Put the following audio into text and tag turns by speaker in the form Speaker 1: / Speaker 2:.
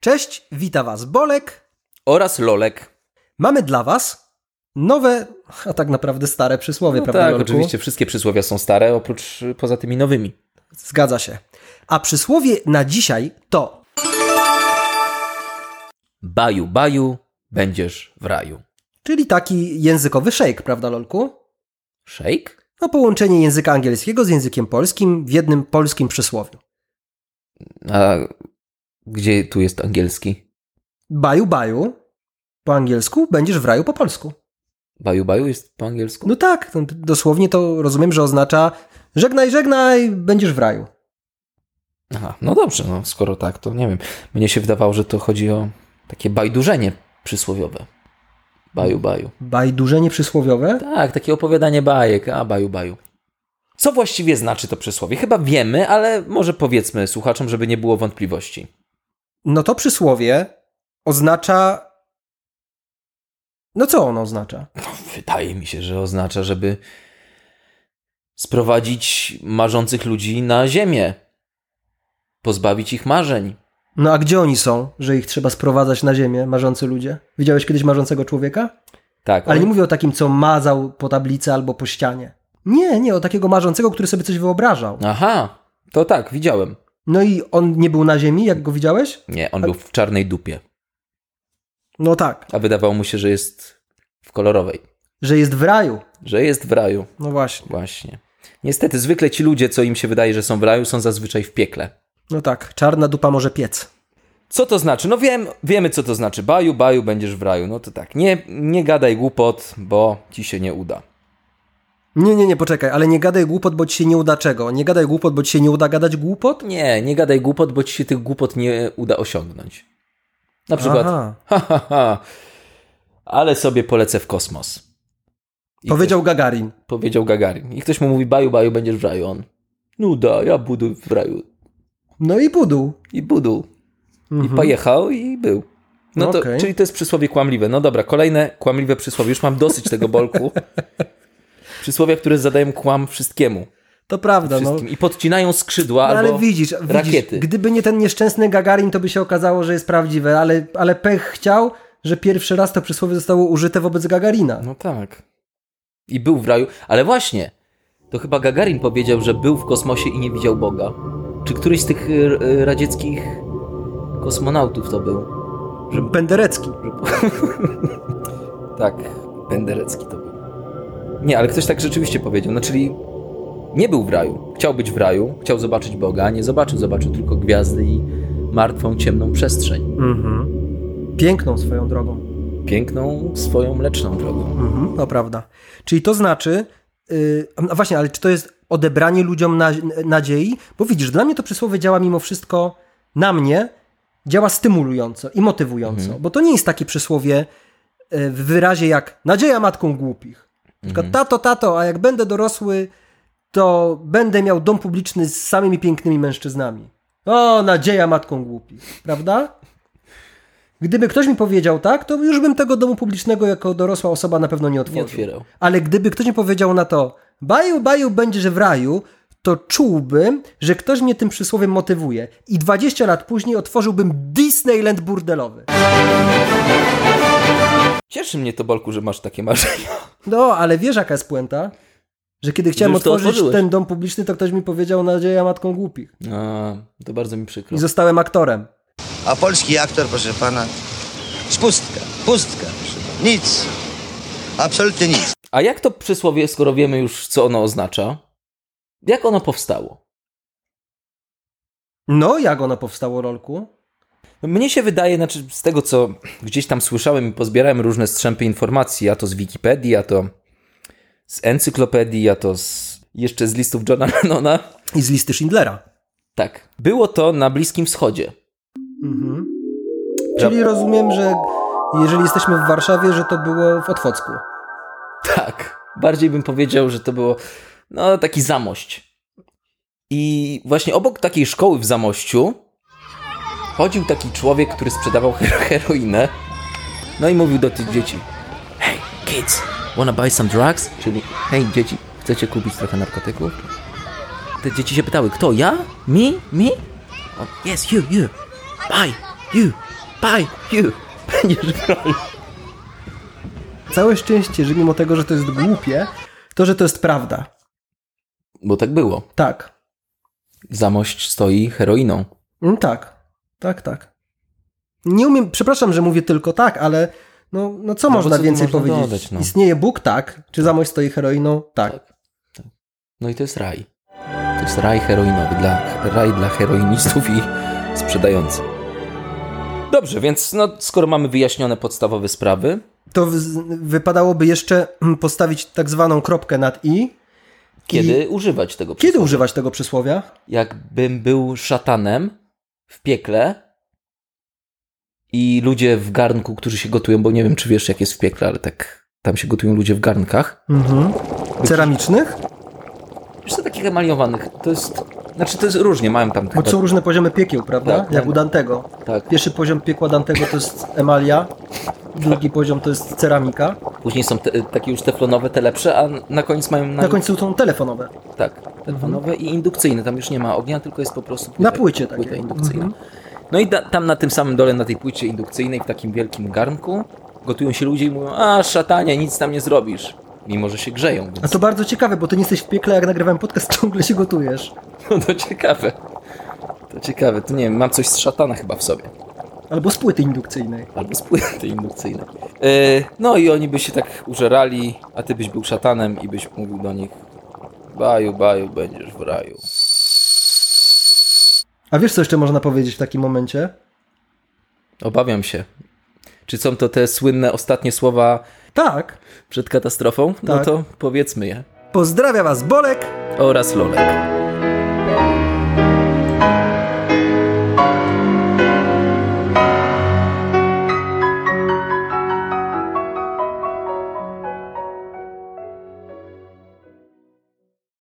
Speaker 1: Cześć, wita Was Bolek.
Speaker 2: Oraz Lolek.
Speaker 1: Mamy dla Was nowe, a tak naprawdę stare przysłowie,
Speaker 2: No
Speaker 1: prawda?
Speaker 2: tak,
Speaker 1: Lolku?
Speaker 2: oczywiście wszystkie przysłowia są stare, oprócz y, poza tymi nowymi.
Speaker 1: Zgadza się. A przysłowie na dzisiaj to
Speaker 2: Baju, baju, będziesz w raju.
Speaker 1: Czyli taki językowy szejk, prawda, Lolku?
Speaker 2: Szejk?
Speaker 1: No, połączenie języka angielskiego z językiem polskim w jednym polskim przysłowiu.
Speaker 2: A gdzie tu jest angielski?
Speaker 1: Baju, baju. Po angielsku będziesz w raju po polsku.
Speaker 2: Baju, baju jest po angielsku?
Speaker 1: No tak, no, dosłownie to rozumiem, że oznacza żegnaj, żegnaj, będziesz w raju.
Speaker 2: Aha, no dobrze, no skoro tak, to nie wiem. Mnie się wydawało, że to chodzi o takie bajdurzenie przysłowiowe. Baju, baju.
Speaker 1: Bajdurzenie przysłowiowe?
Speaker 2: Tak, takie opowiadanie bajek, a baju, baju. Co właściwie znaczy to przysłowie? Chyba wiemy, ale może powiedzmy słuchaczom, żeby nie było wątpliwości.
Speaker 1: No to przysłowie oznacza. No co ono oznacza?
Speaker 2: Wydaje mi się, że oznacza, żeby sprowadzić marzących ludzi na ziemię, pozbawić ich marzeń.
Speaker 1: No a gdzie oni są, że ich trzeba sprowadzać na ziemię, marzący ludzie? Widziałeś kiedyś marzącego człowieka?
Speaker 2: Tak,
Speaker 1: Ale
Speaker 2: on-
Speaker 1: nie mówię o takim, co mazał po tablicy albo po ścianie. Nie, nie, o takiego marzącego, który sobie coś wyobrażał.
Speaker 2: No. Aha, to tak, widziałem.
Speaker 1: No i on nie był na ziemi, jak go widziałeś?
Speaker 2: Nie, on był w czarnej dupie,
Speaker 1: No tak,
Speaker 2: a wydawało mu się, że jest w kolorowej,
Speaker 1: że jest w raju.
Speaker 2: że jest w raju.
Speaker 1: No właśnie,
Speaker 2: Właśnie. Niestety, zwykle ci ludzie, co im się wydaje, że są w raju, są zazwyczaj w piekle.
Speaker 1: no tak, czarna dupa może piec.
Speaker 2: Co to znaczy? No wiem, wiemy co to znaczy. Baju, baju, będziesz w raju. No to tak, nie, nie gadaj głupot, bo ci się nie uda.
Speaker 1: Nie, nie, nie, poczekaj, ale nie gadaj głupot, bo ci się nie uda czego? Nie gadaj głupot, bo ci się nie uda gadać głupot?
Speaker 2: Nie, nie gadaj głupot, bo ci się tych głupot nie uda osiągnąć. Na przykład,
Speaker 1: Aha.
Speaker 2: ha, ha, ha, ale sobie polecę w kosmos. I
Speaker 1: Powiedział Gagarin.
Speaker 2: Ktoś, powiedział Gagarin. I ktoś mu mówi, baju, baju, będziesz w raju. On, nuda, ja budu w raju.
Speaker 1: No i budu.
Speaker 2: I budu.
Speaker 1: Mhm.
Speaker 2: I pojechał i był. No to,
Speaker 1: Okej.
Speaker 2: czyli to jest przysłowie kłamliwe. No dobra, kolejne kłamliwe przysłowie. Już mam dosyć tego bolku. Przysłowia, które zadają kłam wszystkiemu.
Speaker 1: To prawda, no.
Speaker 2: Wszystkim. I podcinają skrzydła
Speaker 1: No,
Speaker 2: albo
Speaker 1: ale widzisz, widzisz,
Speaker 2: rakiety.
Speaker 1: gdyby nie ten nieszczęsny Gagarin, to by się okazało, że jest prawdziwe, ale, ale pech chciał, że pierwszy raz to przysłowie zostało użyte wobec Gagarina.
Speaker 2: No tak. I był w raju. Ale właśnie, to chyba Gagarin powiedział, że był w kosmosie i nie widział Boga. Czy któryś z tych y, y, radzieckich kosmonautów to był?
Speaker 1: Penderecki.
Speaker 2: Tak, Penderecki to był. Nie, ale ktoś tak rzeczywiście powiedział. No czyli nie był w raju. Chciał być w raju, chciał zobaczyć Boga, a nie zobaczył. Zobaczył tylko gwiazdy i martwą, ciemną przestrzeń.
Speaker 1: Mhm. Piękną swoją drogą.
Speaker 2: Piękną, swoją mleczną drogą.
Speaker 1: Mhm, to prawda. Czyli to znaczy, yy, a właśnie, ale czy to jest odebranie ludziom na, nadziei? Bo widzisz, dla mnie to przysłowie działa mimo wszystko na mnie, działa stymulująco i motywująco,
Speaker 2: Mhm.
Speaker 1: bo to nie jest takie przysłowie yy, w wyrazie jak nadzieja matką głupich. Tylko tato, tato, a jak będę dorosły, to będę miał dom publiczny z samymi pięknymi mężczyznami. O, nadzieja matką głupich, prawda? Gdyby ktoś mi powiedział tak, to już bym tego domu publicznego jako dorosła osoba na pewno nie
Speaker 2: Nie
Speaker 1: otworzył.
Speaker 2: otwierał.
Speaker 1: Ale gdyby ktoś mi powiedział na to, baju, baju, będziesz w raju, to czułbym, że ktoś mnie tym przysłowiem motywuje. I 20 lat później otworzyłbym Disneyland burdelowy.
Speaker 2: Cieszy mnie to, Bolku, że masz takie marzenia.
Speaker 1: No, ale wiesz jaka jest puenta? Że kiedy chciałem
Speaker 2: Już to
Speaker 1: otworzyć
Speaker 2: otworzyłeś.
Speaker 1: ten dom publiczny, to ktoś mi powiedział nadzieja matką głupich.
Speaker 2: A, to bardzo mi przykro.
Speaker 1: I zostałem aktorem.
Speaker 3: A polski aktor, proszę pana, jest pustka, pustka, proszę pana. nic, absolutnie nic.
Speaker 2: A jak to przysłowie, skoro wiemy już, co ono oznacza? Jak ono powstało?
Speaker 1: No, jak ono powstało, Rolku?
Speaker 2: No, Mnie się wydaje, znaczy z tego, co gdzieś tam słyszałem i pozbierałem różne strzępy informacji, a to z Wikipedii, a to z encyklopedii, a to z, jeszcze z listów Johna Lennona.
Speaker 1: I z listy Schindlera.
Speaker 2: Tak, było to na Bliskim Wschodzie.
Speaker 1: Mhm. Czyli rozumiem, że jeżeli jesteśmy w Warszawie, że to było w Otwocku.
Speaker 2: Tak, bardziej bym powiedział, że to było no taki Zamość. I właśnie obok takiej szkoły w Zamościu chodził taki człowiek, który sprzedawał hero- heroinę. No i mówił do tych dzieci: Hey kids, wanna buy some drugs? Czyli hej dzieci, chcecie kupić trochę narkotyków? Te dzieci się pytały: Kto ja? Mi? Mi? On, yes, you, you. Buy. you, pie, you. Będziesz bronił.
Speaker 1: Całe szczęście, że mimo tego, że to jest głupie, to, że to jest prawda.
Speaker 2: Bo tak było.
Speaker 1: Tak.
Speaker 2: Zamość stoi heroiną.
Speaker 1: Mm, tak. Tak, tak. Nie umiem, przepraszam, że mówię tylko tak, ale no, no co
Speaker 2: No bo
Speaker 1: można
Speaker 2: co tu
Speaker 1: więcej
Speaker 2: można
Speaker 1: powiedzieć?
Speaker 2: dodać, no.
Speaker 1: Istnieje Bóg? Tak. Czy zamość stoi heroiną? Tak.
Speaker 2: No i to jest raj. To jest raj heroinowy, dla, raj dla heroinistów i sprzedających. Dobrze, więc no, skoro mamy wyjaśnione podstawowe sprawy,
Speaker 1: To w- wypadałoby jeszcze mm, postawić tak zwaną kropkę nad i.
Speaker 2: kiedy używać tego
Speaker 1: Kiedy
Speaker 2: przysłowia?
Speaker 1: używać tego przysłowia?
Speaker 2: Jakbym był szatanem w piekle i ludzie w garnku, którzy się gotują, bo nie wiem, czy wiesz, jak jest w piekle, ale tak tam się gotują ludzie w garnkach.
Speaker 1: Mhm. Ceramicznych?
Speaker 2: Wiesz, to takich emaliowanych, to jest... Znaczy, to jest różnie, mają tam
Speaker 1: Bo
Speaker 2: chyba...
Speaker 1: są różne poziomy piekieł, prawda?
Speaker 2: Tak,
Speaker 1: Jak
Speaker 2: tak.
Speaker 1: u Dantego.
Speaker 2: Tak.
Speaker 1: Pierwszy poziom piekła Dantego to jest emalia, drugi poziom to jest ceramika,
Speaker 2: Później są te, takie już teflonowe, te lepsze, a na koniec mają...
Speaker 1: na końcu są telefonowe.
Speaker 2: Tak, telefonowe i indukcyjne. Tam już nie ma ognia, tylko jest po prostu
Speaker 1: Na płycie Mhm. takiej.
Speaker 2: płyta indukcyjna. No i da, tam na tym samym dole, na tej płycie indukcyjnej, w takim wielkim garnku, gotują się ludzie i mówią, a szatanie, nic tam nie zrobisz. Mimo, że się grzeją, więc
Speaker 1: A to bardzo ciekawe, bo ty nie jesteś w piekle, jak nagrywałem podcast, ciągle się gotujesz.
Speaker 2: no, to ciekawe. To ciekawe, to nie wiem, mam coś z szatana chyba w sobie.
Speaker 1: Albo z płyty indukcyjnej.
Speaker 2: Albo z płyty indukcyjnej. Yy, no i oni by się tak użerali, a ty byś był szatanem i byś mówił do nich, baju, baju, będziesz w raju.
Speaker 1: A wiesz, co jeszcze można powiedzieć w takim momencie?
Speaker 2: Obawiam się. Czy są to te słynne ostatnie słowa
Speaker 1: Tak.
Speaker 2: przed katastrofą? No
Speaker 1: Tak.
Speaker 2: to powiedzmy je.
Speaker 1: Pozdrawia was Bolek
Speaker 2: Oraz Lolek.